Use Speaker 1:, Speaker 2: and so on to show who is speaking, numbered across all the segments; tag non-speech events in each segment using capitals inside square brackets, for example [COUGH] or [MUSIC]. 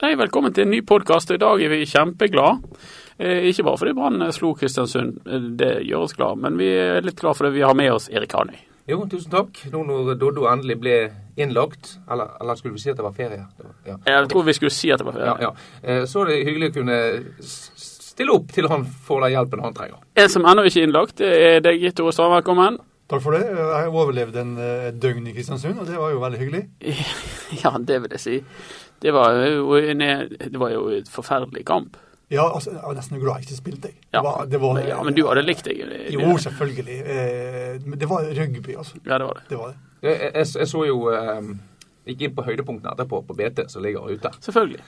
Speaker 1: Hei, velkommen til en ny podkast. I dag er vi kjempeglad. Eh, ikke bare fordi Brann slo Kristiansund, eh, det gjør oss glad, men vi er litt glad fordi vi har med oss Erik Hanøy.
Speaker 2: Jo, tusen takk. Nå når Doddo endelig ble innlagt, eller, eller skulle vi si at det var ferie? Det var- Ja.
Speaker 1: Jeg tror vi skulle si at det var
Speaker 2: Ja, ja. Eh, Så er det hyggelig å kunne s- stille opp til han får den hjelpen han trenger.
Speaker 1: En som ennå ikke er innlagt, det er deg, Tore Strand. Velkommen.
Speaker 3: Takk for det. Jeg overlevde en, eh, et døgn i Kristiansund, og det var jo veldig hyggelig.
Speaker 1: [LAUGHS] Ja, det vil jeg si. Det var jo en, det var jo et forferdelig kamp.
Speaker 3: Ja, altså, jeg var nesten glad jeg ikke spilte. jeg.
Speaker 1: Ja,
Speaker 3: Det var, det var,
Speaker 1: men, ja men du hadde likt deg. det-
Speaker 3: Jo, selvfølgelig. Eh, Men det var rugby, altså.
Speaker 1: Ja, det var det.
Speaker 3: Det var det.
Speaker 2: Jeg, jeg, jeg- jeg så jo eh, Gikk inn på høydepunktene etterpå på BT, som ligger ute.
Speaker 1: Selvfølgelig.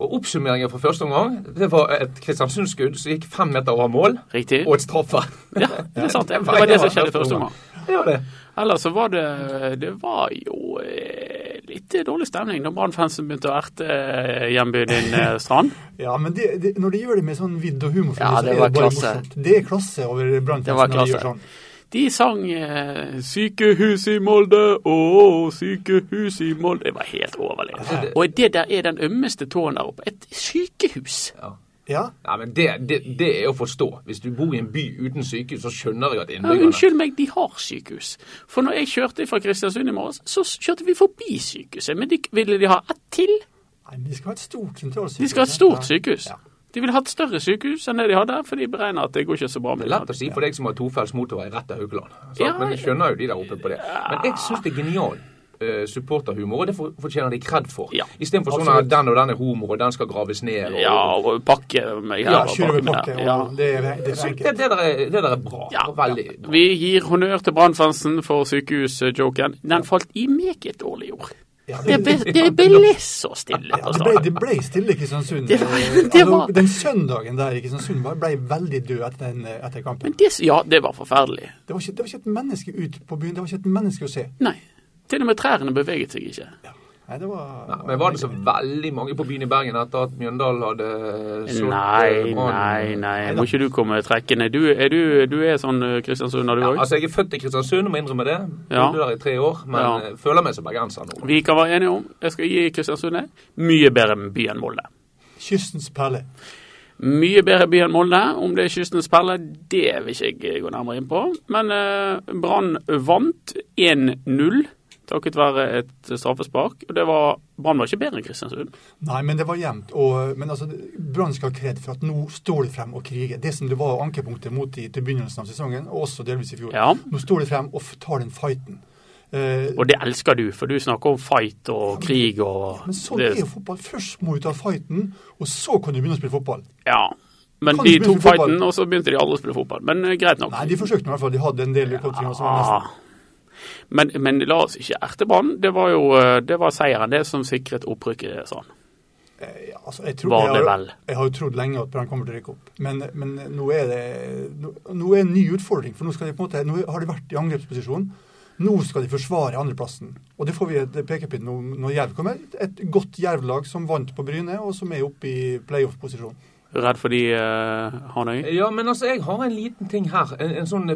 Speaker 2: Og oppsummeringen for første omgang, det var et Kristiansund-skudd som gikk fem meter over mål,
Speaker 1: Riktig.
Speaker 2: og et straffe. [LAUGHS]
Speaker 1: Ja, det er sant. Det var det som skjedde første omgang.
Speaker 2: Det var det.
Speaker 1: Ellers så var det Det var jo eh, litt dårlig stemning da Brann-fansen begynte å erte eh, hjembyen din, eh, Strand.
Speaker 3: Ja, men det, det, når de gjør det med sånn vidd og humor,
Speaker 1: Ja,
Speaker 3: så
Speaker 1: det
Speaker 3: er
Speaker 1: var
Speaker 3: det bare
Speaker 1: klasse.
Speaker 3: morsomt. Det er klasse over
Speaker 1: Det var
Speaker 3: brannfansen når de gjør
Speaker 1: klasse.
Speaker 3: sånn.
Speaker 1: De sang eh, 'Sykehus i Molde', å, sykehus i Molde Det var helt overlevd. Og det der er den ømmeste tåen der oppe. Et sykehus!
Speaker 2: Ja.
Speaker 3: Ja,
Speaker 2: Nei, men det, det, det er å forstå. Hvis du bor i en by uten sykehus, så skjønner jeg at
Speaker 1: Ja,
Speaker 2: innbyggerne
Speaker 1: unnskyld meg, de har sykehus. For når jeg kjørte fra Kristiansund i morges, så kjørte vi forbi sykehuset. Men de, ville de ha ett til?
Speaker 3: Nei, men de skal ha et stort sentralsykehus.
Speaker 1: De skal ha et stort
Speaker 3: Ja.
Speaker 1: sykehus.
Speaker 3: Ja.
Speaker 1: De ville ha et større sykehus enn det de hadde, for de beregner at det går ikke så bra
Speaker 2: Det
Speaker 1: med
Speaker 2: er lett å
Speaker 1: det.
Speaker 2: si for deg som har tofelts motorvei rett til Haukeland. sant?
Speaker 1: Ja,
Speaker 2: men jeg skjønner jo de der oppe på det. Men jeg syns det er genial eh, supporterhumor, og det for- fortjener de kred for.
Speaker 1: Ja.
Speaker 2: Istedenfor sånn at
Speaker 3: Absolutt.
Speaker 2: den og den er homo, og den skal graves ned. Og,
Speaker 1: Ja, og pakke meg
Speaker 3: Ja,
Speaker 1: her og
Speaker 3: kjøre
Speaker 1: pakke
Speaker 3: med
Speaker 1: meg
Speaker 3: pakke.
Speaker 1: der.
Speaker 3: og
Speaker 1: Ja.
Speaker 3: Det, er, det er
Speaker 2: Så det, det,
Speaker 3: enkelt.
Speaker 2: der er, det der er bra.
Speaker 1: Ja,
Speaker 2: og Veldig bra.
Speaker 1: Vi gir honnør til Brannfansen for sykehusjoken. Den falt i meget dårlig jord.
Speaker 3: Ja,
Speaker 1: Det ble, det ble så stille
Speaker 3: Ja,
Speaker 1: på stedet.
Speaker 3: det, ble, det ble stille i Kristiansund.
Speaker 1: Det var-
Speaker 3: Eh,
Speaker 1: det
Speaker 3: altså,
Speaker 1: var-
Speaker 3: Den søndagen der i Kristiansund bare ble veldig død etter, den, eh, etter kampen.
Speaker 1: Men det, ja, det var forferdelig.
Speaker 3: Det var, ikke, det var ikke et menneske ut på byen, det var ikke et menneske å se.
Speaker 1: Nei. Til og med trærne beveget seg ikke.
Speaker 3: Ja. Nei, det var...
Speaker 2: Nei, men var det så veldig mange på byen i Bergen etter at Mjøndalen hadde slått
Speaker 1: Nei,
Speaker 2: eh, Brann?
Speaker 1: nei, nei.
Speaker 3: Nei
Speaker 1: Må
Speaker 3: da.
Speaker 1: ikke du komme trekkende. Du er, du, du er sånn eh, Kristiansunder, du
Speaker 2: Ja,
Speaker 1: òg?
Speaker 2: altså, jeg er født i Kristiansund, må innrømme det.
Speaker 1: Ja.
Speaker 2: Bodde der i tre år, men
Speaker 1: Ja.
Speaker 2: eh, føler meg som bergenser nå.
Speaker 1: Vi kan være enige om jeg skal gi Kristiansund det. Mye bedre by enn Molde.
Speaker 3: Kystens perle.
Speaker 1: Mye bedre by enn Molde. Om det er kystens perle, det vil ikke jeg eh, gå nærmere inn på. Men eh, Brann vant 1-0 takket være et straffespark. Og det var Brann var ikke bedre enn Kristiansund.
Speaker 3: Nei, men det var jevnt. og- Men altså, Brann skal ha kred for at nå står de frem og kriger. Det som det var ankepunktet mot de til begynnelsen av sesongen, og også delvis i fjor.
Speaker 1: Ja.
Speaker 3: Nå står de frem og f- tar den fighten. Eh,
Speaker 1: Og det elsker du, for du snakker om fight og krig og
Speaker 3: men sånn
Speaker 1: det-
Speaker 3: er jo fotball. Først må du ta fighten, og så kan du begynne å spille fotball.
Speaker 1: Ja. Men
Speaker 3: Kan
Speaker 1: de
Speaker 3: spille
Speaker 1: tok
Speaker 3: fotball.
Speaker 1: fighten, og så begynte de alle å spille fotball. Men eh, greit nok. Ah.
Speaker 3: Nei, de forsøkte i hvert fall. De hadde en del kontringer som var nesten
Speaker 1: Men, men la oss ikke erte Brann. Det var jo eh, det var seieren, det som sikret opprykket, sa han.
Speaker 3: Eh, altså, jeg, tror,
Speaker 1: Var det
Speaker 3: jeg, har,
Speaker 1: vel?
Speaker 3: jeg har jo trodd lenge at Brann kommer til å rykke opp, men, men nå er det nå, nå er en ny utfordring. For nå, skal de på en måte, nå har de vært i angrepsposisjon. Nå skal de forsvare andreplassen. Og det får vi et pekepinn når, når Jerv kommer. Et godt Jerv-lag som vant på Bryne, og som er oppe i playoff-posisjon.
Speaker 1: Redd for de uh, Hanøy?
Speaker 2: Ja, men altså, jeg har en liten ting her. En, en sånn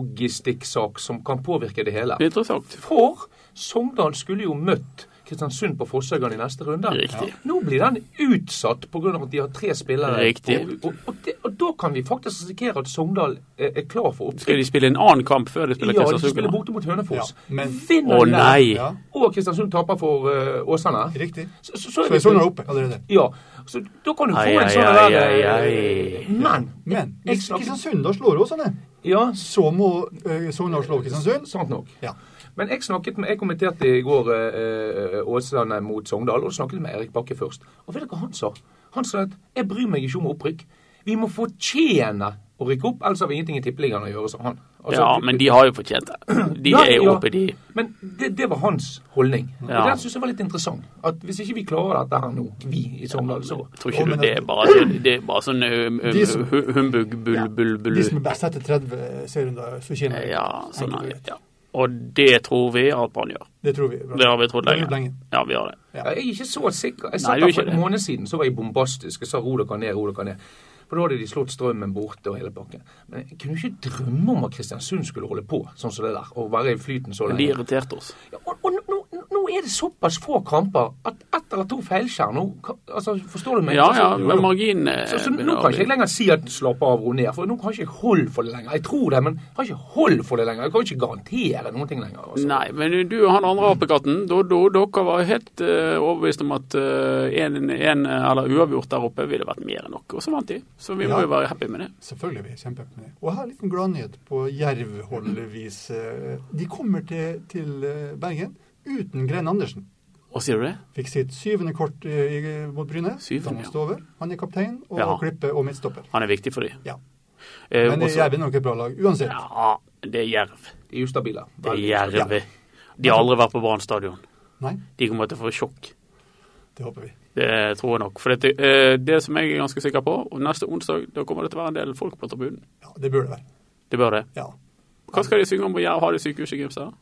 Speaker 2: fotballogistikksak som kan påvirke det hele.
Speaker 1: Interessant.
Speaker 2: For Sogndal skulle jo møtt Kristiansund på Fossøygan i neste runde.
Speaker 1: Riktig.
Speaker 2: Nå blir den utsatt pga. at de har tre spillere.
Speaker 1: Riktig.
Speaker 2: Og, og, og, det, og da kan vi faktisk risikere at Sogndal eh, er, er klar for
Speaker 1: Skal
Speaker 2: opptrykk.
Speaker 1: de spille en annen kamp før de spiller
Speaker 2: Ja, de
Speaker 1: Kristiansund?
Speaker 2: spiller
Speaker 1: nå?
Speaker 2: borte mot Hønefoss.
Speaker 3: Ja, men-
Speaker 2: Vinner
Speaker 1: Å
Speaker 2: de der,
Speaker 1: nei!
Speaker 3: Ja,
Speaker 2: Og Kristiansund taper for eh, Åsane.
Speaker 3: riktig.
Speaker 2: Så, så,
Speaker 3: Så jeg sånn er oppe allerede.
Speaker 2: Ja, så da kan du få
Speaker 1: Ai,
Speaker 2: en
Speaker 1: ai,
Speaker 2: sånn
Speaker 1: ai,
Speaker 2: der eh,
Speaker 1: ai, ai.
Speaker 2: Men
Speaker 3: Men
Speaker 2: Jeg
Speaker 3: hvis
Speaker 2: snakker-
Speaker 3: Kristiansund da slår Åsane,
Speaker 2: Ja,
Speaker 3: så må eh, Sogndal slå Kristiansund.
Speaker 2: sant nok.
Speaker 3: Ja.
Speaker 2: Men jeg snakket med, jeg kommenterte i går eh, eh, Åsane mot Sogndal, og snakket med Erik Bakke først. Og vet dere hva han sa? Han sa at 'jeg bryr meg ikke om opprykk'. Vi må fortjene å rykke opp, ellers har vi ingenting i tippeligaen å gjøre, sa han. Altså,
Speaker 1: Ja, men de har jo fortjent det. De
Speaker 2: Ja,
Speaker 1: er jo
Speaker 2: ja.
Speaker 1: oppe, de.
Speaker 2: Men det, det var hans holdning.
Speaker 1: Ja.
Speaker 2: Og den syns jeg var litt interessant. At hvis ikke vi klarer dette her nå, vi i Sogndal, så
Speaker 1: Jeg tror ikke
Speaker 3: Å,
Speaker 1: du
Speaker 3: men
Speaker 1: det
Speaker 3: at-
Speaker 1: er bare, det er bare sånn eh, um,
Speaker 3: De som-
Speaker 1: hu- humbug, bull, bull, bull.
Speaker 3: De som er best etter 30 serierunder, fortjener det.
Speaker 1: Ja, sånn
Speaker 3: Enkelt og
Speaker 1: er
Speaker 3: greit.
Speaker 1: det. Ja. Og det tror vi at Brann gjør.
Speaker 3: Det tror vi. Brann.
Speaker 1: Det har vi trodd
Speaker 3: Det har vi
Speaker 1: lenge.
Speaker 3: gjort lenge.
Speaker 1: Ja, vi har det.
Speaker 2: Ja, Jeg er ikke så sikker. Jeg
Speaker 1: Nei, du
Speaker 2: satt
Speaker 1: er
Speaker 2: der for
Speaker 1: ikke
Speaker 2: en
Speaker 1: det.
Speaker 2: måned siden, så var jeg bombastisk. Jeg sa ro dere ned, ro dere ned. For da hadde de slått strømmen borte og hele pakken. Men jeg kunne ikke drømme om at Kristiansund skulle holde på sånn som det der, og være i flyten så
Speaker 1: Men de
Speaker 2: lenge.
Speaker 1: irriterte oss.
Speaker 2: Ja, og og nå, nå, nå er det såpass få kamper at ett eller to feilskjær nå ka- altså, Forstår du meg?
Speaker 1: Ja
Speaker 2: Altså,
Speaker 1: ja,
Speaker 2: jo,
Speaker 1: men
Speaker 2: jo.
Speaker 1: marginen eh,
Speaker 2: så, så nå
Speaker 1: begynner å
Speaker 2: kan ikke
Speaker 1: bli-
Speaker 2: jeg lenger si at slapp av, ro ned. For nå har ikke jeg hold for det lenger. Jeg tror det, men jeg har ikke hold for det lenger. Jeg kan ikke garantere noen ting lenger. Altså.
Speaker 1: Nei, men eh, du og han andre apekatten, da, da, dere var helt eh, overbevist om at eh, en, en eller uavgjort der oppe ville vært mer enn nok, og så vant de. Så vi
Speaker 3: Ja.
Speaker 1: må jo være happy med det.
Speaker 3: Selvfølgelig er vi kjempehappy med det. Og jeg har en liten gladnyhet på Jerv-holdvis. De kommer til, til eh, Bergen uten Grein Andersen.
Speaker 1: Og sier du det?
Speaker 3: Fikk sitt syvende kort eh, i- mot Bryne.
Speaker 1: Syvende,
Speaker 3: da må
Speaker 1: ja.
Speaker 3: han stå over. Han er kaptein og
Speaker 1: Ja.
Speaker 3: klippe og midtstopper.
Speaker 1: Han er viktig for de.
Speaker 3: Ja.
Speaker 1: Eh,
Speaker 3: Men
Speaker 1: også-
Speaker 3: Jerv er nok et bra lag uansett.
Speaker 1: Ja, det er Jerv.
Speaker 2: De er ustabile.
Speaker 1: Det er
Speaker 2: Veldig ustabile.
Speaker 1: Jerv. De har aldri vært på Brann stadion.
Speaker 3: Nei,
Speaker 1: De kommer til å få sjokk.
Speaker 3: det håper vi.
Speaker 1: Det tror jeg nok. For dette, eh, det som jeg er ganske sikker på, og neste onsdag da kommer det til å være en del folk på tribunen.
Speaker 3: Ja, Det burde det være.
Speaker 1: Det bør det.
Speaker 3: Ja.
Speaker 1: Hva skal de synge om på Jerv? Har de sykehus i Grimstad?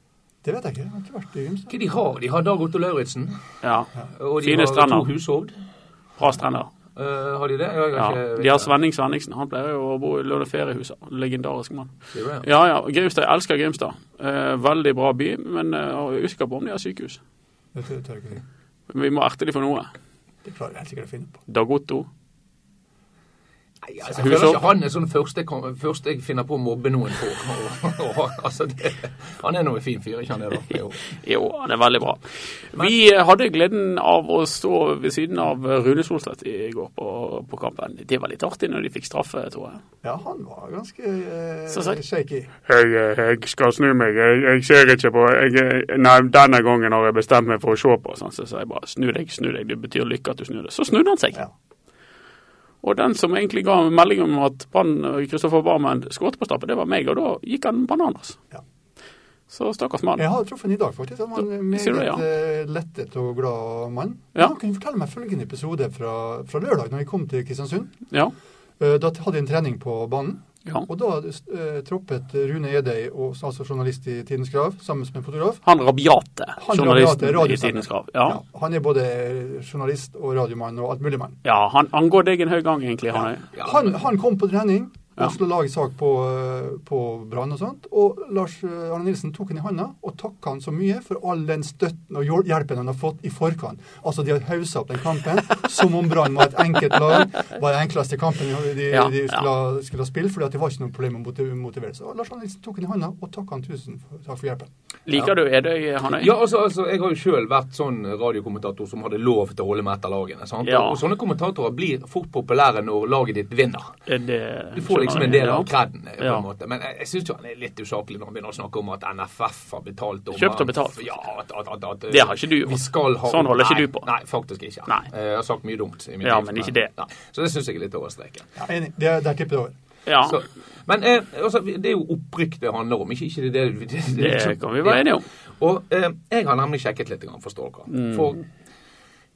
Speaker 3: Det vet jeg ikke. Jeg har ikke vært i Grimstad.
Speaker 2: Hva de har? De har Dag Otto Lauritzen.
Speaker 1: Ja.
Speaker 2: Og de
Speaker 1: Fine
Speaker 2: har
Speaker 1: strender.
Speaker 2: to hushovd.
Speaker 1: Bra strender.
Speaker 2: Eh, har de det? Jeg har
Speaker 1: Ja,
Speaker 2: ikke
Speaker 1: de har Svenning Svenningsen. Han pleier jo å bo i Lønne feriehuset. Legendarisk mann.
Speaker 2: Det er bra.
Speaker 1: Ja ja, Grimstad. Jeg elsker Grimstad. Eh, veldig bra by, men eh, jeg er usikker på om de har sykehus.
Speaker 3: Det tør- tør jeg ikke si.
Speaker 1: Vi må erte de for noe.
Speaker 3: Det klarer jeg helt sikkert å finne på.
Speaker 1: Dag Otto.
Speaker 2: Nei, altså, jeg føler
Speaker 1: Hushovd.
Speaker 2: ikke han er sånn første, kom- første jeg finner på å mobbe noen for. Og, [LAUGHS] og, altså, det, han er nå en fin fyr, ikke han er det? Jo.
Speaker 1: Jo, han er veldig bra. Vi eh, hadde gleden av å stå ved siden av eh, Rune Solstvedt i går på, på kampen. Det var litt artig når de fikk straffe, tror jeg.
Speaker 3: Ja, han var ganske eh,
Speaker 1: Så sagt.
Speaker 3: shaky.
Speaker 4: Jeg, jeg skal snu meg. Jeg, jeg ser ikke på jeg, Nei, denne gangen har jeg bestemt meg for å se på.
Speaker 1: Sånn, så sa jeg bare snu deg, snu deg. Det betyr lykke at du snur deg. Så snudde han seg.
Speaker 3: Ja.
Speaker 1: Og den som egentlig ga meg melding om at Brann og Kristoffer Barmen skåret på straffe, det var meg. Og da gikk han bananas.
Speaker 3: Ja.
Speaker 1: Så stakkars mann.
Speaker 3: Jeg har truffet ham i dag, faktisk. Han var
Speaker 1: Da-
Speaker 3: en meget
Speaker 1: sier du det, ja.
Speaker 3: eh, lettet og glad mann.
Speaker 1: Ja.
Speaker 3: Han kunne fortelle meg følgende episode fra, fra lørdag, når vi kom til Kristiansund.
Speaker 1: Ja.
Speaker 3: Eh, Da hadde jeg en trening på banen.
Speaker 1: ja.
Speaker 3: Og da eh, troppet Rune Edøy, og- altså journalist i Tidens Krav, sammen med en fotograf.
Speaker 1: Han rabiate
Speaker 3: Han rabiate,
Speaker 1: journalisten i
Speaker 3: radiosender.
Speaker 1: Tidens Krav. Ja.
Speaker 3: Ja, han er både journalist og radiomann og alt mulig mann.
Speaker 1: ja, han angår deg en høy gang, egentlig. Han er.
Speaker 2: Ja,
Speaker 3: Han, han kom på trening
Speaker 1: Ja.
Speaker 3: og skulle lage sak på, eh, på Brann og sånt. Og Lars eh, Arne Nilsen tok han i handa og takka han så mye for all den støtten og hjel- hjelpen han har fått i forkant. Altså, de har haussa opp den kampen [LAUGHS] som om Brann var et enkelt lag. Var den enkleste kampen de,
Speaker 1: Ja,
Speaker 3: de
Speaker 1: ja.
Speaker 3: skulle, ha- skulle ha spilt, fordi at det var ikke noe problem å motiv- motivere seg. Og Lars Arne Nilsen tok han i handa og takka han tusen for, takk for hjelpen.
Speaker 1: Liker du Edøy, Hanøy?
Speaker 2: Ja, altså, altså, Jeg har jo sjøl vært sånn radiokommentator som hadde lov til å holde med etter lagene. sant?
Speaker 1: Ja.
Speaker 2: Og sånne kommentatorer blir fort populære når laget ditt vinner.
Speaker 1: Det,
Speaker 2: Du får liksom en del av
Speaker 1: ja.
Speaker 2: kreden, på
Speaker 1: Ja.
Speaker 2: en måte. Men jeg, jeg syns jo han er litt usaklig når han begynner å snakke om at NFF har betalt dommer.
Speaker 1: Kjøpt og betalt.
Speaker 2: Ja, at, at, at, at
Speaker 1: Det har ikke du gjort.
Speaker 2: Vi skal ha
Speaker 1: Sånn holder ikke
Speaker 2: Nei,
Speaker 1: du på.
Speaker 2: Nei, faktisk ikke. Eh,
Speaker 1: Nei.
Speaker 2: Jeg har sagt mye dumt i mitt
Speaker 1: Ja,
Speaker 2: liv,
Speaker 1: men ikke det.
Speaker 2: Nei. Så det syns jeg er litt over streken.
Speaker 3: Ja, enig. Det, der tipper det over.
Speaker 1: Ja,
Speaker 2: Så, men eh, altså, det er jo opprykk det handler om, ikke, ikke det, det, det, det,
Speaker 1: det kan vi være enige om. Mm.
Speaker 2: Og eh, jeg har nemlig sjekket litt, grann, forstår dere. For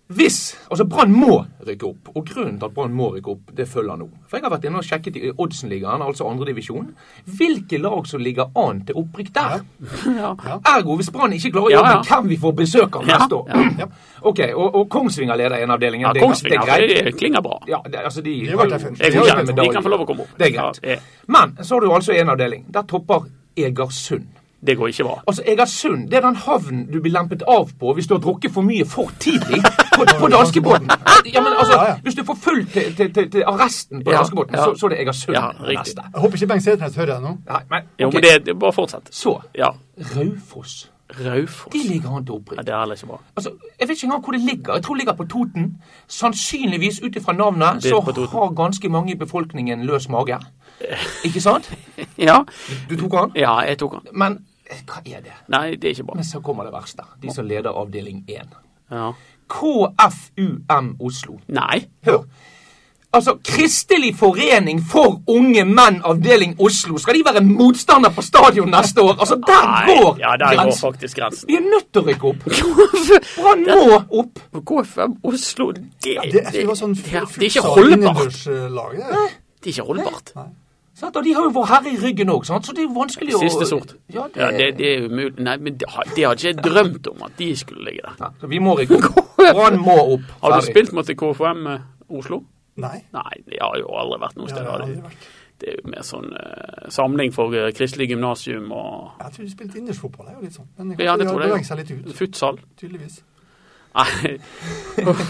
Speaker 2: hvis Altså, Brann må rykke opp. Og grunnen til at Brann må rykke opp, det følger nå. For jeg har vært inne og sjekket i Oddsen-ligaen, altså andredivisjon, hvilke lag som ligger an til opprykk der.
Speaker 1: [LAUGHS] Ja.
Speaker 2: Ergo, hvis Brann ikke klarer
Speaker 1: Ja,
Speaker 2: jobben,
Speaker 1: ja.
Speaker 2: hvem vi får besøk av
Speaker 1: Ja,
Speaker 2: neste år?
Speaker 1: ja.
Speaker 2: OK, og, og Kongsvinger leder en avdelingen.
Speaker 1: Ja,
Speaker 2: det, det
Speaker 1: Kongsvinger
Speaker 2: er greit.
Speaker 1: det klinger bra.
Speaker 2: Ja, det, altså de
Speaker 3: har vært der før.
Speaker 1: Jeg
Speaker 3: Det er jo
Speaker 1: godkjenner.
Speaker 3: ikke
Speaker 1: De kan få lov å komme opp.
Speaker 2: Det er greit.
Speaker 1: Ja, eh,
Speaker 2: Men så har du altså en avdeling. Der topper Egersund.
Speaker 1: det går ikke bra.
Speaker 2: Altså, Egersund det er den havnen du blir lempet av på hvis du har drukket for mye for tidlig på, på danskebåten. Ja, men
Speaker 3: Ja,
Speaker 2: altså,
Speaker 3: ja.
Speaker 2: hvis du får full til, til, til, til arresten på
Speaker 1: Ja,
Speaker 2: danskebåten,
Speaker 1: ja.
Speaker 2: så, så er det Egersund
Speaker 1: Ja,
Speaker 2: det
Speaker 1: riktig.
Speaker 2: neste.
Speaker 3: Jeg håper ikke Bengt Setnes hører deg nå.
Speaker 2: Nei, men,
Speaker 1: Jo,
Speaker 2: ok.
Speaker 1: men det, det bare fortsett.
Speaker 2: Så
Speaker 1: Ja.
Speaker 2: Raufoss.
Speaker 1: Raufoss.
Speaker 2: De ligger an til
Speaker 1: Ja,
Speaker 2: opprykk.
Speaker 1: det er heller ikke bra.
Speaker 2: Altså, Jeg vet ikke engang hvor det ligger. Jeg tror det ligger på Toten. Sannsynligvis ut ifra navnet
Speaker 1: Det er
Speaker 2: så
Speaker 1: på Toten.
Speaker 2: har ganske mange i befolkningen løs mage. Ikke sant?
Speaker 1: Ja,
Speaker 2: Du tok han?
Speaker 1: ja jeg tok han.
Speaker 2: Men eh, hva er det?
Speaker 1: Nei, det er ikke bra.
Speaker 2: Men så kommer det verste. De som leder avdeling 1.
Speaker 1: Ja.
Speaker 2: KFUM Oslo.
Speaker 1: Nei.
Speaker 2: Hør. Altså, Kristelig forening for unge menn, avdeling Oslo. Skal de være motstander på stadion neste år? Altså, der
Speaker 1: Nei.
Speaker 2: går
Speaker 1: Ja, der går
Speaker 2: grensen.
Speaker 1: faktisk
Speaker 2: [LAUGHS]
Speaker 1: grensen.
Speaker 2: Vi er nødt til å rykke opp. Brann må opp.
Speaker 1: KFM Oslo, det,
Speaker 3: Det, jeg tror det var sånn
Speaker 1: det, er- det er ikke holdbart.
Speaker 3: innendørslag. det.
Speaker 1: Det er ikke holdbart.
Speaker 2: Sant? Og de har jo Vår Herre i ryggen òg, så det er jo vanskelig å
Speaker 1: Siste sort.
Speaker 2: Ja, det...
Speaker 1: Ja, det, det er umulig. Nei, men det, har- det hadde ikke jeg drømt om at de skulle ligge der.
Speaker 2: Nei, så vi må rykke
Speaker 3: [LAUGHS]
Speaker 2: opp. Brann må opp.
Speaker 1: Har du
Speaker 2: Ferdig.
Speaker 1: spilt mot KFM eh, Oslo?
Speaker 3: Nei.
Speaker 1: Nei, det har jo aldri vært noe
Speaker 3: Det
Speaker 1: sted.
Speaker 3: har jeg
Speaker 1: har
Speaker 3: aldri
Speaker 1: det.
Speaker 3: vært.
Speaker 1: det er jo mer sånn eh, samling for eh, kristelig gymnasium og
Speaker 3: Jeg tror de spilte innersfotball jeg, og litt sånn. Men
Speaker 1: Ja, det
Speaker 3: de har
Speaker 1: tror jeg.
Speaker 3: beveget seg litt ut,
Speaker 1: futsal.
Speaker 3: tydeligvis.
Speaker 2: [LAUGHS]
Speaker 1: Nei, Uff.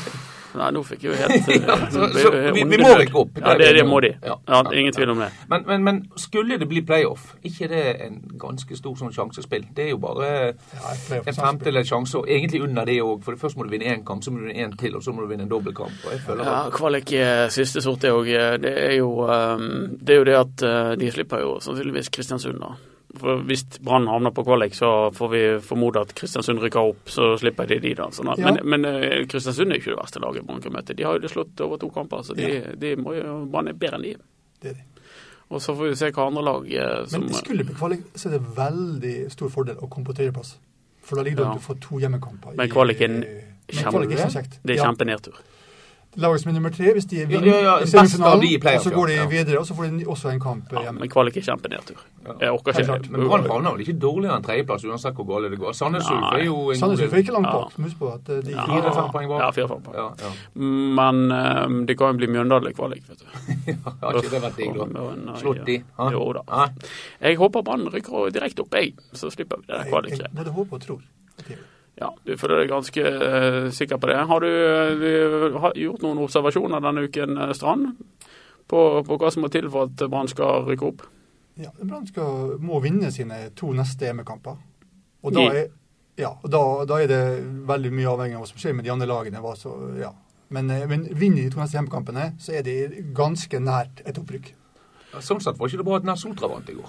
Speaker 1: Nei nå fikk jeg jo helt eh,
Speaker 2: [LAUGHS] Ja, så-
Speaker 1: ble-
Speaker 2: så
Speaker 1: eh,
Speaker 2: vi- vi
Speaker 1: åndenød.
Speaker 2: må rykke opp.
Speaker 1: Ja, det, det må de.
Speaker 2: Ja.
Speaker 1: Ja, ingen tvil om det.
Speaker 2: Men, men, men skulle det bli playoff, ikke det en ganske stor sånn sjansespill? Det er jo bare
Speaker 3: Ja, et playoff-
Speaker 2: en femtedel sjanse, og egentlig under det òg. For først må du vinne én kamp, så må du vinne én til, og så må du vinne en dobbeltkamp. Og jeg føler
Speaker 1: Ja,
Speaker 2: at
Speaker 1: Kvalik eh, siste sort er òg eh, Det er jo eh, det er jo det at eh, de slipper jo sannsynligvis Kristiansund, da. For hvis Brann havner på kvalik, så får vi formode at Kristiansund rykker opp. Så slipper de de, da. Sånn at,
Speaker 3: Ja.
Speaker 1: Men, men eh, Kristiansund er jo ikke det verste laget Brann kan møte. De har jo det slått over to kamper, så de, de må jo Brann er bedre enn de.
Speaker 3: Det er de.
Speaker 1: Og så får vi se hva andre lag eh, som
Speaker 3: Men skulle det bli kvalik, så er det veldig stor fordel å komme på tredjeplass. For da ligger det
Speaker 1: Ja.
Speaker 3: at du får to hjemmekamper. i- eh,
Speaker 1: Men kvalik er en
Speaker 3: Men kvalik er så kjempe...
Speaker 1: Det er kjempenedtur.
Speaker 3: Laget som er nummer tre, hvis de
Speaker 2: Ja,
Speaker 3: vinner
Speaker 2: ja, ja,
Speaker 3: i
Speaker 2: best av de i
Speaker 3: semifinalen,
Speaker 2: playoff,
Speaker 3: og så går de
Speaker 2: ja.
Speaker 3: videre, og så får de ny- også en kamp eh,
Speaker 1: Ja,
Speaker 3: hjemme.
Speaker 1: men kvalik er kjempenedtur.
Speaker 2: Ja.
Speaker 1: Jeg orker
Speaker 3: Helt klart.
Speaker 1: ikke.
Speaker 2: Men Brann havner vel ikke dårligere enn tredjeplass, uansett hvor galt det går. Sandnes
Speaker 1: Nei.
Speaker 2: Ulf er jo en
Speaker 3: Sandnes Ulf er ikke langt
Speaker 1: Ja.
Speaker 3: bak. så Husk på at eh, de
Speaker 1: Ja.
Speaker 2: Fire-fem poeng bak.
Speaker 1: Ja, fire-fem poeng.
Speaker 2: Ja, ja. [LAUGHS]
Speaker 1: Men eh, det kan jo bli Mjøndalen i kvalik, vet du. eh,
Speaker 2: ja, har ikke det vært digg, da?
Speaker 1: Men, nei,
Speaker 2: Slått de? hæ?
Speaker 1: Jo da.
Speaker 2: Hæ?
Speaker 1: Jeg håper Brann rykker direkte opp, jeg. Så slipper vi det der
Speaker 3: Jeg- Jeg
Speaker 1: kvalikgreiet.
Speaker 3: både håper og tror. at de-
Speaker 1: Ja, du føler deg ganske eh, sikker på det. Har du eh, har gjort noen observasjoner denne uken, eh, Strand? På, på hva som må til for at Brann skal rykke opp?
Speaker 3: Ja, Brann skal- må vinne sine to neste hjemmekamper. Og da
Speaker 1: I-
Speaker 3: er, ja, og da, da er det veldig mye avhengig av hva som skjer med de andre lagene. hva så, ja. Men, eh, men vinner de to neste hjemmekampene, så er de ganske nært et opprykk.
Speaker 2: Ja, Sånn sett var ikke det bra at Nessotra vant i går.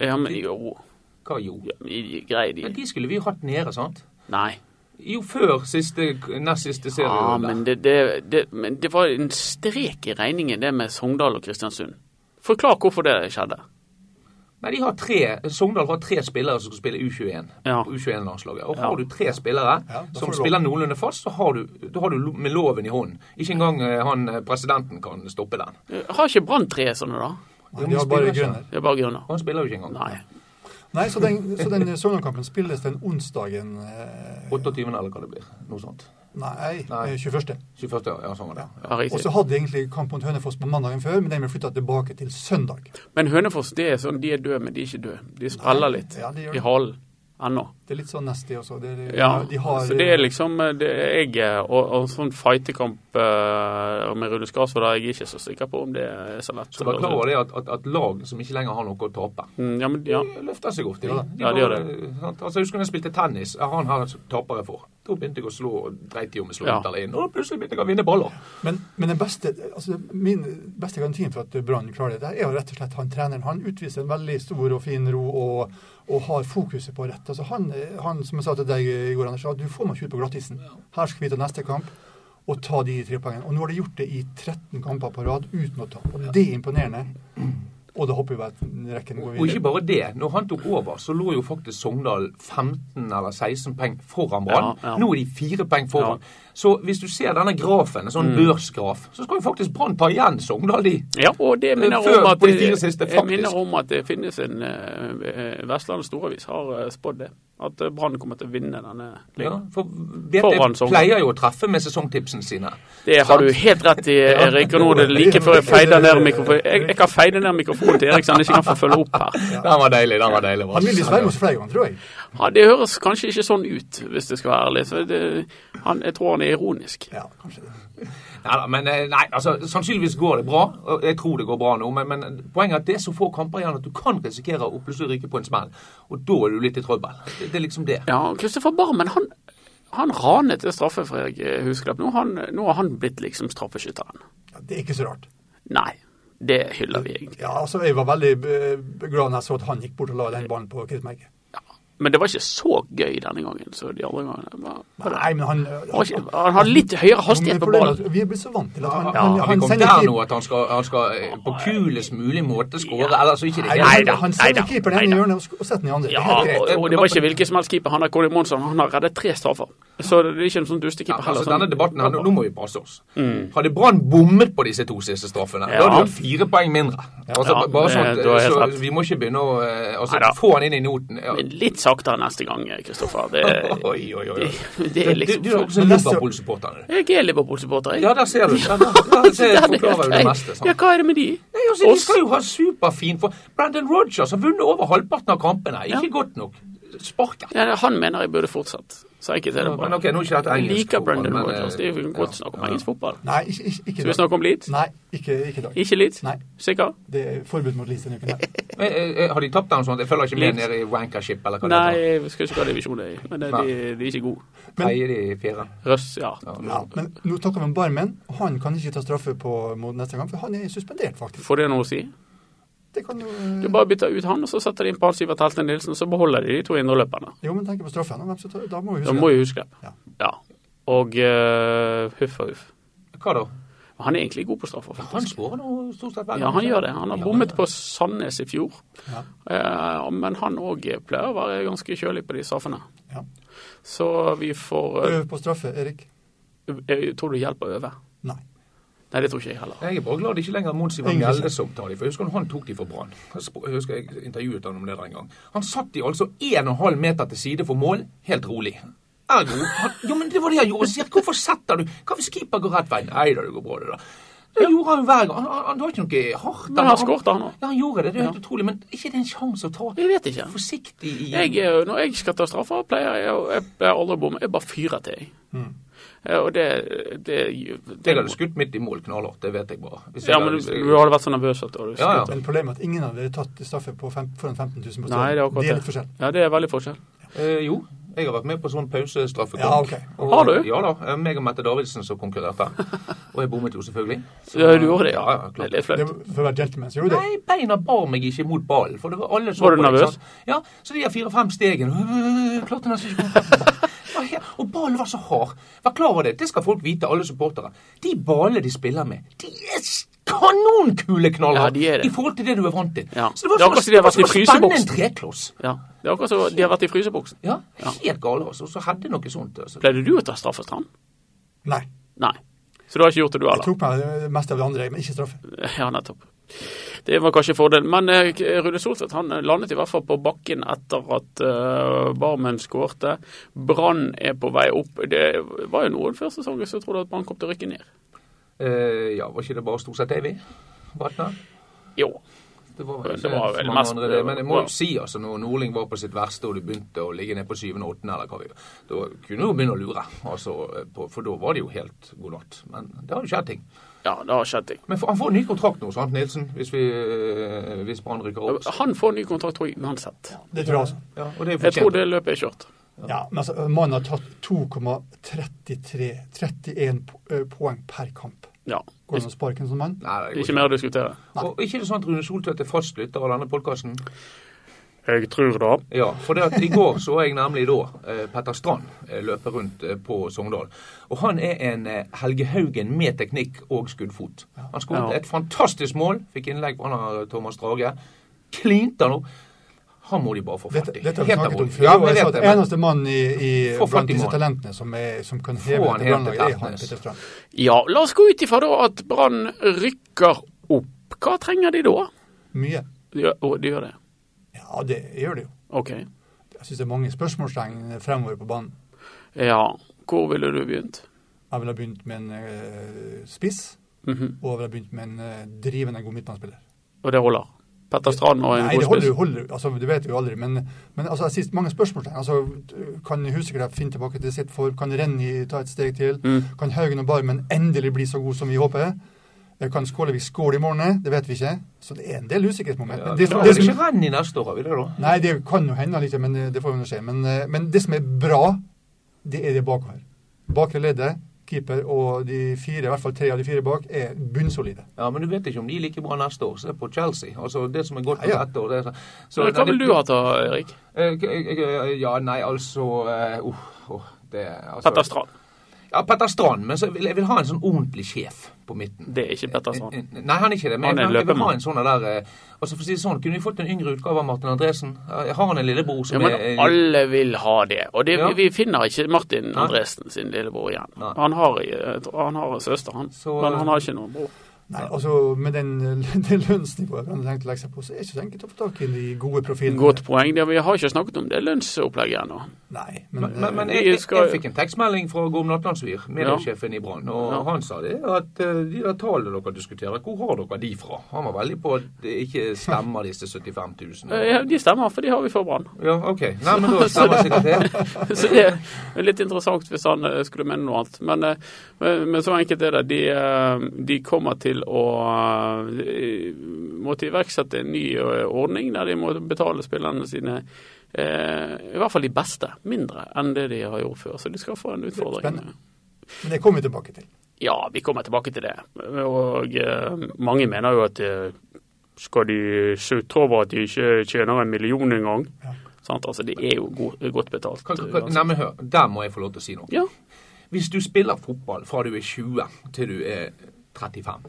Speaker 1: Ja, men jo
Speaker 2: Hva jo?
Speaker 1: ja, men Greier
Speaker 2: Men
Speaker 1: de
Speaker 2: de skulle vi hatt nede, sant?
Speaker 1: Nei.
Speaker 2: Jo, før siste, nest siste
Speaker 1: Ja,
Speaker 2: serierunde.
Speaker 1: men det, det, det, men det var en strek i regningen, det med Sogndal og Kristiansund. Forklar hvorfor det skjedde.
Speaker 2: Nei, de har tre, Sogndal har tre spillere som skal spille U21.
Speaker 1: Ja.
Speaker 2: U21-landslaget. Og
Speaker 1: Ja.
Speaker 2: har du tre spillere
Speaker 3: da får
Speaker 2: som
Speaker 3: du
Speaker 2: spiller noenlunde fast, så har du, da har du lo- med loven i hånden. Ikke engang eh, han eh, presidenten kan stoppe den.
Speaker 1: Eh, Har ikke Brann tre sånne, da?
Speaker 3: Nei,
Speaker 2: men
Speaker 3: de har
Speaker 2: de
Speaker 3: bare
Speaker 2: spiller ikke.
Speaker 3: grønner.
Speaker 1: Det er bare grunner.
Speaker 2: Han spiller jo ikke engang.
Speaker 1: Nei.
Speaker 3: Nei, så den, så den Sogndal-kampen spilles den onsdagen eh,
Speaker 2: 28. eller hva det blir. Noe sånt.
Speaker 3: Nei,
Speaker 2: Nei.
Speaker 3: eh, 21.
Speaker 2: 21. ja, sånn var det. Ja.
Speaker 1: Ja,
Speaker 3: Og
Speaker 1: riktig.
Speaker 3: så hadde de egentlig kamp mot Hønefoss på mandagen før, men den ble flytta tilbake til søndag.
Speaker 1: Men Hønefoss, det er sånn, de er døde, men de er ikke døde. De spreller litt
Speaker 3: Ja, de gjør
Speaker 1: i
Speaker 3: det.
Speaker 1: halen ennå.
Speaker 3: Det er litt sånn nasty også. Det, er-
Speaker 1: Ja,
Speaker 3: de har,
Speaker 1: så det er liksom eh, det er jeg eh, og, og sånn fighterkamp eh, med Rune Skarsvold er jeg ikke så sikker på om det er så lett. Altså,
Speaker 2: Så vær klar over det at, at, at lag som ikke lenger har noe å tape
Speaker 1: Mm, Ja, men ja.
Speaker 2: de løfter seg ofte.
Speaker 3: Ja da.
Speaker 1: Ja, de gjør
Speaker 2: bare- sant? Altså, jeg husker da jeg spilte tennis. Ja, Han her taper jeg for. Da begynte jeg å slå og dreit i om jeg slo
Speaker 1: Ja.
Speaker 2: ut eller inn. Og da plutselig begynte jeg å vinne baller.
Speaker 3: Men, men den beste, altså, min beste garantien for at Brann klarer det, er jo rett og slett han treneren. Han utviser en veldig stor og fin ro og, og har fokuset på rett. Altså, han, han, som jeg sa til deg i går, Anders, at du får meg ikke ut på glattisen. Her skal vi ta neste kamp og ta de tre poengene. Og nå har de gjort det i 13 kamper på rad uten å ta. Og det er imponerende. Og da håper vi at rekken
Speaker 2: Og
Speaker 3: går
Speaker 2: ikke
Speaker 3: videre.
Speaker 2: bare det. Når han tok over, så lå jo faktisk Sogndal 15 eller 16 poeng foran Brann.
Speaker 1: Ja, ja.
Speaker 2: Nå er de fire poeng foran. Så hvis du ser denne grafen, en sånn
Speaker 1: Mm.
Speaker 2: børsgraf, så skal jo faktisk Brann ta igjen Sogndal, de.
Speaker 1: ja, og det minner
Speaker 2: Før,
Speaker 1: om at
Speaker 2: på de
Speaker 1: det-
Speaker 2: fire siste,
Speaker 1: jeg
Speaker 2: faktisk.
Speaker 1: minner om at det finnes en eh, Vestlandets Storavis har eh, spådd det. At eh, Brann kommer til å vinne denne
Speaker 2: Ja,
Speaker 1: ligaen.
Speaker 2: for
Speaker 1: Foran
Speaker 2: BT
Speaker 1: Sogndal.
Speaker 2: pleier jo å treffe med sesongtipsene sine.
Speaker 1: Det har du helt rett i, Erik. Og nå er det like før jeg feider ned mikrofonen. Jeg, jeg kan feide ned mikrofonen til Erik, så han ikke kan få følge opp her.
Speaker 2: Den var deilig, den var deilig.
Speaker 3: Han vil bli svermet flere ganger, tror jeg.
Speaker 1: Ja, Det høres kanskje ikke sånn ut, hvis jeg skal være ærlig. Så det, han, jeg tror han er ironisk.
Speaker 3: Ja, kanskje det.
Speaker 2: Nei, da, men eh, nei, altså, sannsynligvis går det bra. og Jeg tror det går bra nå, men, men poenget er at det er så få kamper igjen at du kan risikere å plutselig ryke på en smell. Og da er du litt i trøbbel. Det, det er liksom det.
Speaker 1: Ja, Kristoffer Barmen, han, han ranet det straffe for Erik eh, Husklepp. Nå, han, nå har han blitt liksom straffeskytteren.
Speaker 3: Ja, det er ikke så rart.
Speaker 1: Nei, det hyller vi egentlig.
Speaker 3: Ja, altså, jeg var veldig eh, glad når jeg så at han gikk bort og la den ballen på krittmerket.
Speaker 1: Men det var ikke så gøy denne gangen som de andre gangene. Det var-
Speaker 3: Nei, men han
Speaker 1: det var ikke- Han har litt høyere hastighet på
Speaker 3: Problemet er at
Speaker 1: ballen.
Speaker 3: Vi er blitt så vant til at han,
Speaker 2: Ja,
Speaker 3: han,
Speaker 2: har vi
Speaker 3: han
Speaker 2: kommet
Speaker 3: sender
Speaker 2: der
Speaker 3: keep-
Speaker 2: nå at han skal, han skal eh, på kulest mulig måte skåre? Ellers så er ikke det
Speaker 3: Nei,
Speaker 1: Nei
Speaker 3: han-
Speaker 1: da,
Speaker 3: Han
Speaker 1: nei
Speaker 3: sender
Speaker 1: da,
Speaker 3: keeperen
Speaker 1: nei
Speaker 3: inn i
Speaker 1: da.
Speaker 3: hjørnet og sk- og setter den i andre. Det er
Speaker 1: Ja,
Speaker 3: helt
Speaker 1: og,
Speaker 3: greit.
Speaker 1: og det var ikke hvilken som helst keeper. Han er Colin Monsson, han har reddet tre straffer. Så det er ikke en sånn
Speaker 2: Ja,
Speaker 1: dustekeeper heller.
Speaker 2: altså,
Speaker 1: sånn-
Speaker 2: denne debatten her, nå- Nå må vi passe oss. Hadde Brann bommet på disse to siste straffene,
Speaker 1: Mm. Ja.
Speaker 2: da hadde de hatt fire poeng mindre. Altså,
Speaker 1: Ja,
Speaker 2: bare
Speaker 1: det-
Speaker 2: sånn,
Speaker 1: du har helt
Speaker 2: så
Speaker 1: rett.
Speaker 2: Vi må ikke begynne å eh, altså,
Speaker 1: Neida.
Speaker 2: få han inn i noten. Ja.
Speaker 1: Men litt saktere neste gang, Kristoffer. Det,
Speaker 2: [LAUGHS] Oi, oi, oi.
Speaker 1: det,
Speaker 2: oi.
Speaker 1: det er
Speaker 2: Du, du er
Speaker 1: liksom
Speaker 2: også
Speaker 3: Men neste-
Speaker 2: Liverpool-supporter. du.
Speaker 1: Jeg er Liverpool-supporter, jeg.
Speaker 2: Ja, der ser du. Ja, der, der
Speaker 1: [LAUGHS]
Speaker 2: ser,
Speaker 1: Ja, det er
Speaker 2: forklarer du det
Speaker 1: greit.
Speaker 2: meste. sant?
Speaker 1: Ja, hva er det med de?
Speaker 2: Nei, altså, de
Speaker 1: Oss-
Speaker 2: skal jo ha superfin for Brandon Rogers har vunnet over halvparten av kampene. Ikke
Speaker 1: Ja.
Speaker 2: godt nok. Sparket.
Speaker 1: Ja, det- han mener jeg burde fortsatt. Så jeg ikke til det
Speaker 2: Men
Speaker 1: bra.
Speaker 2: ok, nå er ikke dette
Speaker 1: Jeg
Speaker 2: engelsk
Speaker 1: liker
Speaker 2: fotball,
Speaker 1: Brendan
Speaker 2: men,
Speaker 1: Rodgers. Det er jo
Speaker 2: eh,
Speaker 1: godt
Speaker 2: ja,
Speaker 1: snakk om
Speaker 2: ja.
Speaker 1: engelsk fotball.
Speaker 3: Nei, ikke, ikke, ikke
Speaker 1: Skal vi
Speaker 3: i dag.
Speaker 1: snakke om Leeds?
Speaker 3: Nei, ikke, ikke i dag.
Speaker 1: Ikke Leeds?
Speaker 3: Nei.
Speaker 1: Sikker?
Speaker 3: Det er forbud mot Leeds denne uken. her.
Speaker 2: Men, eh, eh, Har de tapt den sånn? Jeg følger ikke med
Speaker 1: Litt.
Speaker 2: nede i Wankership, eller hva
Speaker 1: Nei,
Speaker 2: det heter.
Speaker 1: jeg skal ikke hva divisjon det er i, men det,
Speaker 2: Nei.
Speaker 1: de, de er ikke gode.
Speaker 3: Men-
Speaker 2: Tredje de i fjerde.
Speaker 1: Røss, ja.
Speaker 3: Ja, men nå snakker vi om Barmen. Han kan ikke ta straffe på, mot neste gang, for han er suspendert, faktisk.
Speaker 1: Får det noe å si?
Speaker 3: Det kan jo øh,
Speaker 1: Du bare bytter ut han, og så setter de inn Pål Sivert Helten Nilsen, og så beholder de de to indreløperne.
Speaker 3: Jo, men tenk på straffen. og hvem som tar- Da må vi
Speaker 1: Da
Speaker 3: huske
Speaker 1: må jo huske det.
Speaker 3: Ja.
Speaker 1: Ja. Og eh, huff og huff.
Speaker 2: Hva da?
Speaker 1: Han er egentlig god på straffer,
Speaker 2: Han
Speaker 1: faktisk.
Speaker 2: skårer nå stort sett hver
Speaker 1: Ja, han gjør det. Han har
Speaker 2: Ja,
Speaker 1: bommet på Sandnes i fjor,
Speaker 3: Ja.
Speaker 1: Eh, men han òg pleier å være ganske kjølig på de straffene.
Speaker 3: Ja.
Speaker 1: Så vi får eh,
Speaker 3: Øv på straffe, Erik.
Speaker 1: Jeg tror du hjelper å øve.
Speaker 3: Nei.
Speaker 1: Nei, det tror ikke jeg heller.
Speaker 2: Jeg er bare glad det ikke lenger er Monsi van
Speaker 3: Ingen-
Speaker 2: Mjelde som tar dem. For jeg husker han tok de for Brann. Jeg sp- Jeg husker jeg intervjuet han om det der en gang. Han satt de altså 1,5 meter til side for mål, helt rolig. Ergo han, Jo, men det var det han gjorde. Så sier jeg, Hvorfor setter du Hva hvis keeper går rett vei? Nei da, det går bra, det, da. Det gjorde han jo hver gang. Han, han, han var ikke noe hardt.
Speaker 1: Men han skårte, han også.
Speaker 2: Ja, han gjorde det. Det er helt
Speaker 1: Ja.
Speaker 2: utrolig. Men ikke det er en sjanse å ta
Speaker 1: Jeg vet ikke.
Speaker 2: forsiktig i
Speaker 1: Jeg, eh, når jeg skal ta straffer, pleier jeg å jeg pleier aldri å bomme. Jeg bare fyrer til, jeg. Eh, Og det, det, det,
Speaker 2: Jeg hadde skutt midt i mål knallhardt, det vet jeg bare. Hvis jeg
Speaker 1: Ja, men
Speaker 2: hadde-
Speaker 1: du,
Speaker 2: hvis jeg-
Speaker 1: du hadde vært så nervøs at du hadde
Speaker 2: Ja, ja.
Speaker 1: skutt.
Speaker 3: Men problemet er at ingen av dere har tatt straffe på fem, foran 15 000 på stedet.
Speaker 1: Nei, det er akkurat
Speaker 3: det. er litt forskjell.
Speaker 1: Ja, det er veldig forskjell.
Speaker 2: Eh, jo, jeg har vært med på sånn pausestraffekonk.
Speaker 3: Ja, ok.
Speaker 2: Og-
Speaker 1: Har du?
Speaker 2: Ja da. eh, Meg og Mette Davidsen som konkurrerte. Og jeg bommet jo,
Speaker 3: [LAUGHS]
Speaker 2: selvfølgelig. Så-
Speaker 1: Ja, du gjorde det,
Speaker 2: ja,
Speaker 1: ja. Det
Speaker 2: klart.
Speaker 1: er litt
Speaker 3: Det
Speaker 1: flaut.
Speaker 3: var for å være gentleman, så gjorde vi det.
Speaker 2: Nei, beina bar meg ikke mot ballen. For det var alle som
Speaker 1: Var du
Speaker 2: på det,
Speaker 1: nervøs?
Speaker 2: sant? Ja, så de her fire-fem stegene [LAUGHS] øh, Klarte nesten ikke å komme frem til ballen. Det var helt- Og ballen var så hard. Vær klar over det. Det skal folk vite, alle supportere. De ballene de spiller med, de er s- kanonkule knallharde
Speaker 1: Ja, de er det.
Speaker 2: i forhold til det du er vant til.
Speaker 1: Ja.
Speaker 2: Så det var
Speaker 1: Det er akkurat
Speaker 2: som
Speaker 1: som de har
Speaker 2: å-
Speaker 1: vært i
Speaker 2: som å spenne en
Speaker 1: fryseboksen.
Speaker 2: trekloss.
Speaker 1: Ja. Det er akkurat som de har vært i fryseboksen.
Speaker 2: Ja,
Speaker 1: Ja.
Speaker 2: helt gale, altså. Så hadde noe sånt. Altså.
Speaker 1: Pleide du å ta straffer, Strand?
Speaker 3: Nei.
Speaker 1: Nei. Så du har ikke gjort det, du
Speaker 3: Jeg
Speaker 1: heller?
Speaker 3: tok meg det meste av det andre, men ikke straffe.
Speaker 1: [LAUGHS] Ja, nettopp. Det var kanskje fordelen. Men eh, Rune Soltvedt han eh, landet i hvert fall på bakken etter at eh, Barmen skårte. Brann er på vei opp. Det var jo noen før sesongen som trodde at Brann kom til å rykke ned.
Speaker 2: Eh, ja, var ikke det bare stort sett Evy? Vatna?
Speaker 1: Jo.
Speaker 2: Det var
Speaker 1: Det var vel
Speaker 2: så mange
Speaker 1: mest-
Speaker 2: andre det. Men jeg må
Speaker 1: ja.
Speaker 2: jo si, altså, når Nordling var på sitt verste, og du begynte å ligge ned på syvende og åttende, eller hva vi Da kunne du jo begynne å lure, altså, på, for da var det jo helt god natt. Men det har jo skjedd ting.
Speaker 1: Ja, det har skjedd ting.
Speaker 2: Men for, han får en ny kontrakt nå, sant, Nilsen? Hvis, vi, eh, hvis Brann rykker opp.
Speaker 1: Han får ny kontrakt, tror jeg, uansett.
Speaker 3: Det tror jeg altså.
Speaker 2: Ja, og det er jo
Speaker 1: Jeg tror
Speaker 2: fortjent.
Speaker 1: det løpet er kjørt.
Speaker 3: Ja, men altså, Mannen har tatt 2,33 31 po- eh, poeng per kamp.
Speaker 1: Ja.
Speaker 3: Går det an å sparke en sånn mann?
Speaker 2: Nei, det går
Speaker 1: Ikke mer å diskutere.
Speaker 2: Og ikke det sånn at Rune Soltvedt er fast lytter av denne podkasten?
Speaker 4: Jeg tror det.
Speaker 2: Ja, for det at i går så jeg nemlig da eh, Petter Strand eh, løpe rundt eh, på Sogndal. Og han er en eh, Helge Haugen med teknikk og skuddfot. Han skåret
Speaker 1: Ja.
Speaker 2: et fantastisk mål, fikk innlegg fra han, eh, Thomas Drage. Klinte han opp. Han må de bare få
Speaker 3: Dette,
Speaker 2: fatt i.
Speaker 3: dette har vi
Speaker 2: Helt
Speaker 3: snakket om
Speaker 2: alvorlig.
Speaker 3: før.
Speaker 2: Ja,
Speaker 3: og
Speaker 2: jeg
Speaker 3: jeg sa
Speaker 2: vet
Speaker 3: at
Speaker 2: det, men
Speaker 3: eneste mann i, i,
Speaker 2: Få fatt
Speaker 3: blant
Speaker 2: i
Speaker 3: disse
Speaker 2: mannen.
Speaker 3: talentene som, er, som kan
Speaker 2: Få
Speaker 3: heve
Speaker 2: han
Speaker 3: dette
Speaker 2: helt
Speaker 3: brannlaget,
Speaker 2: til
Speaker 3: er han
Speaker 2: Tertnes.
Speaker 3: Petter Strand.
Speaker 1: Ja, la oss gå ut ifra da at Brann rykker opp. Hva trenger de da?
Speaker 3: Mye.
Speaker 1: De gjør, å, de gjør det.
Speaker 3: Ja, det gjør det jo.
Speaker 1: OK.
Speaker 3: Jeg syns det er mange spørsmålstegn fremover på banen.
Speaker 1: Ja. Hvor ville du begynt?
Speaker 3: Jeg ville ha begynt med en eh, spiss,
Speaker 1: Mhm.
Speaker 3: og jeg ville ha begynt med en eh, drivende god midtbanespiller.
Speaker 1: Og det holder. Petter Strand og en
Speaker 3: Nei, det
Speaker 1: god
Speaker 3: holder,
Speaker 1: spiss.
Speaker 3: holder altså, Du vet jo aldri, men, men altså, jeg synes mange spørsmålstegn. Altså, kan Huseklepp finne tilbake til sitt form? Kan Renny ta et steg til?
Speaker 1: Mm.
Speaker 3: Kan Haugen og Barmen endelig bli så god som vi håper? Eh, Kan Skålevik skåle i morgen? Eh, Det vet vi ikke. Så det er en del usikkerhetsmoment.
Speaker 2: Ja,
Speaker 3: men
Speaker 2: det
Speaker 3: det, det,
Speaker 2: er
Speaker 3: som,
Speaker 2: ikke renn i neste år, har vi det da?
Speaker 3: nei, det kan jo hende, liksom, men eh, det får jo nå skje. Men, eh, men det som er bra, det er det bakover. Bakre leddet, keeper og de fire, i hvert fall tre av de fire bak, er bunnsolide.
Speaker 2: Ja, Men du vet ikke om de er like bra neste år. Se på Chelsea. Altså, Det som er godt
Speaker 3: Ja,
Speaker 2: med
Speaker 3: ja.
Speaker 2: dette år det er så, så-
Speaker 1: Så hva
Speaker 2: Nei,
Speaker 1: vil
Speaker 2: det-
Speaker 1: du ha ta, Erik?
Speaker 2: Eh, k- eh, Ja, nei, altså eh, uff, uff, det, altså,
Speaker 1: Petter Strand.
Speaker 2: Ja, Petter Strand, men så vil, jeg vil ha en sånn ordentlig sjef på midten.
Speaker 1: Det er ikke Petter Strand.
Speaker 2: Eh, eh, Nei, han er ikke det, men
Speaker 1: Han er
Speaker 2: jeg, vil- jeg vil ha
Speaker 1: løpemann.
Speaker 2: en sånn der eh, Altså for å si det sånn, Kunne vi fått en yngre utgave av Martin Andresen? Eh, Jeg har han en lillebror
Speaker 1: Ja,
Speaker 2: som
Speaker 1: men
Speaker 2: er eh,
Speaker 1: alle vil ha det. Og det,
Speaker 2: Ja.
Speaker 1: vi finner ikke Martin Andresen sin lillebror igjen.
Speaker 2: Nei.
Speaker 1: Han har, jeg tror han har en søster, han.
Speaker 2: Så-
Speaker 1: men han har ikke noen bror.
Speaker 3: Nei, altså Med den, [LAUGHS] det lønnsnivået Brann tenkte å legge seg på, så er det ikke så enkelt å få tak i de gode profilene.
Speaker 1: Godt poeng. Det, vi har ikke snakket om det lønnsopplegget ennå.
Speaker 3: Nei, men,
Speaker 2: Men, men, men
Speaker 3: eh,
Speaker 2: jeg,
Speaker 1: Vi
Speaker 2: jeg,
Speaker 1: skal-
Speaker 2: jeg fikk en tekstmelding fra Gorm Natlandsvir, mediesjefen i Brann, og
Speaker 1: Ja.
Speaker 2: han sa det at eh, de der tallene dere diskuterer, hvor har dere de fra? Han var veldig på at det ikke stemmer disse 75 000.
Speaker 1: Eh, De stemmer, for de har vi for Brann.
Speaker 2: Ja, OK. Nei, men da stemmer sikkert
Speaker 1: [LAUGHS]
Speaker 2: det.
Speaker 1: Så det er litt interessant hvis han eh, skulle mene noe annet. Men, eh, men, men så enkelt er det. De, eh, de kommer til å eh, måtte iverksette en ny eh, ordning der de må betale spillerne sine eh, i hvert fall de beste, mindre enn det de har gjort før. Så de skal få en utfordring.
Speaker 3: Spennende. eh, men det kommer vi tilbake til.
Speaker 1: Ja, vi kommer tilbake til det. Og eh, mange mener jo at eh,
Speaker 4: Skal de sutre over at de ikke tjener en million engang?
Speaker 1: sant? Altså, det er jo god, godt betalt.
Speaker 2: Kan, kan,
Speaker 1: uansett. [LAUGHS]
Speaker 2: nei, men hør, der må jeg få lov til å si noe.
Speaker 1: ja.
Speaker 2: Hvis du spiller fotball fra du er 20 til du er 35,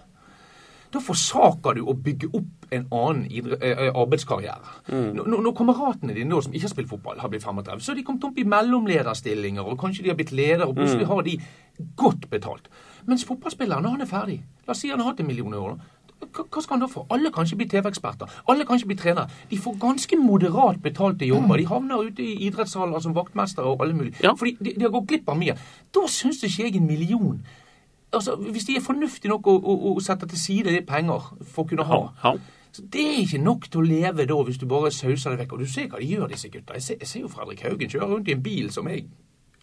Speaker 2: da forsaker du å bygge opp en annen idre, eh, eh, arbeidskarriere. Når, når- når kameratene dine nå som ikke har spilt fotball, har blitt 35, så har de kommet opp i mellomlederstillinger, og kanskje de har blitt leder, og plutselig har de godt betalt. Mens fotballspilleren, når han er ferdig La oss si han har hatt en million i år. da. Hva hva skal han da få? Alle kan ikke bli TV-eksperter. Alle kan ikke bli trenere. De får ganske moderat betalte jobber. De havner ute i idrettshaller som vaktmestere og alle mulig.
Speaker 1: Ja.
Speaker 2: Fordi de, de har gått glipp av mye. Da syns ikke jeg en million Altså, Hvis de er fornuftige nok å, å, å sette til side de penger for å kunne ha
Speaker 1: Ja, ja.
Speaker 2: så Det er ikke nok til å leve da, hvis du bare sauser det vekk. Og du ser hva de gjør, disse gutta. Jeg ser, jeg ser jo Fredrik Haugen kjøre rundt i en bil som jeg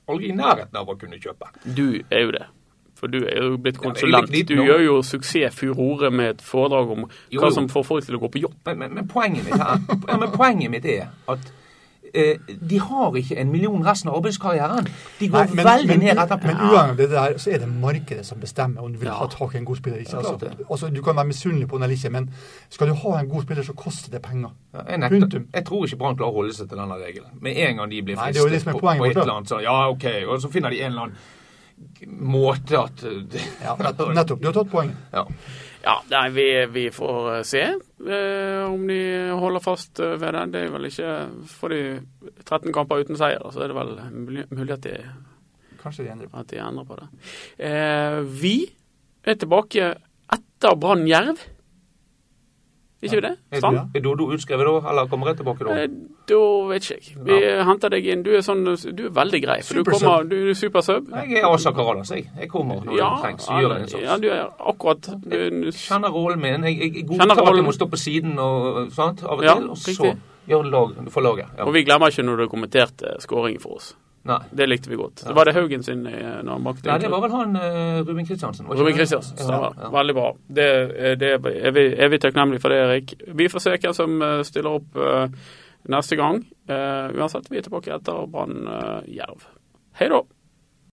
Speaker 2: aldri er i nærheten av å kunne kjøpe.
Speaker 1: Du er jo det. For du er jo blitt
Speaker 2: men jeg er
Speaker 1: konsulent.
Speaker 2: litt liten
Speaker 1: Du
Speaker 2: nå.
Speaker 1: gjør jo suksess furore med et foredrag om
Speaker 2: Jo,
Speaker 1: hva
Speaker 2: jo.
Speaker 1: som får folk til å gå på jobb.
Speaker 2: Men, men, men, poenget, mitt her, [LAUGHS] ja, men poenget mitt er at eh, de har ikke en million resten av arbeidskarrieren. De går
Speaker 3: Nei, men,
Speaker 2: veldig
Speaker 3: men,
Speaker 2: ned etterpå.
Speaker 3: men uavhengig av det der, så er det markedet som bestemmer om du vil
Speaker 1: Ja.
Speaker 3: ha tak i en god spiller eller
Speaker 2: Ja,
Speaker 3: ikke.
Speaker 2: klart
Speaker 3: Altså, altså, du kan være misunnelig på den eller ikke, men skal du ha en god spiller, så koster det penger.
Speaker 2: Ja, Jeg, nekter,
Speaker 3: Punktum.
Speaker 2: jeg tror ikke Brann klarer å holde seg til denne regelen. Med en gang de blir
Speaker 3: Nei, det er jo det
Speaker 2: fristet
Speaker 3: som er
Speaker 2: på,
Speaker 3: poenget
Speaker 2: på et
Speaker 3: vårt, da.
Speaker 2: eller annet, så ja, ok, og så finner de en eller annen måte at eh, [LAUGHS]
Speaker 3: Ja, nett- nettopp. Du har tatt poenget.
Speaker 2: Ja.
Speaker 1: Ja, nei, vi, vi får eh, se eh, om de holder fast eh, ved det. Det er vel ikke Får de 13 kamper uten seier, så er det vel mulig mulig at de,
Speaker 3: Kanskje de endrer på
Speaker 1: at de endrer på det. Eh, vi er tilbake etter Brann Jerv. Ikke vi det?
Speaker 2: Er,
Speaker 1: Sant?
Speaker 2: er, Dodo utskrevet da, eller kommer jeg tilbake da?
Speaker 1: Eh, Da vet ikke jeg. Vi henter deg inn. Du er, sånn, du er veldig grei. For du
Speaker 3: Supersub.
Speaker 1: kommer, du er supersub.
Speaker 2: Nei, jeg er Asa Karadas, jeg. Jeg kommer når det trengs. Jeg gjør en innsats.
Speaker 1: ja, du er akkurat du, du,
Speaker 2: Kjenner rollen min. Jeg, jeg, jeg
Speaker 1: Kjenner
Speaker 2: godtar at
Speaker 1: rollen.
Speaker 2: jeg må stå på siden og, sant, av og
Speaker 1: Ja,
Speaker 2: til, og så
Speaker 1: riktig.
Speaker 2: gjør lag, for laget. Ja.
Speaker 1: Og vi glemmer ikke når du kommenterte skåringen for oss.
Speaker 2: Nei.
Speaker 1: Det likte vi godt. Det var det Haugen sin eh, når han bakte
Speaker 2: Nei,
Speaker 1: inn.
Speaker 2: det var vel han eh, Ruben Kristiansen. var ikke
Speaker 1: Ruben
Speaker 2: det?
Speaker 1: Kristiansen.
Speaker 2: Ja,
Speaker 1: stemmer.
Speaker 2: ja.
Speaker 1: Veldig bra. Det, eh, det er, vi, er vi takknemlige for det, Erik. Vi får se hvem som eh, stiller opp eh, neste gang. Eh, uansett, vi er tilbake etter Brann eh, Jerv. Hei da.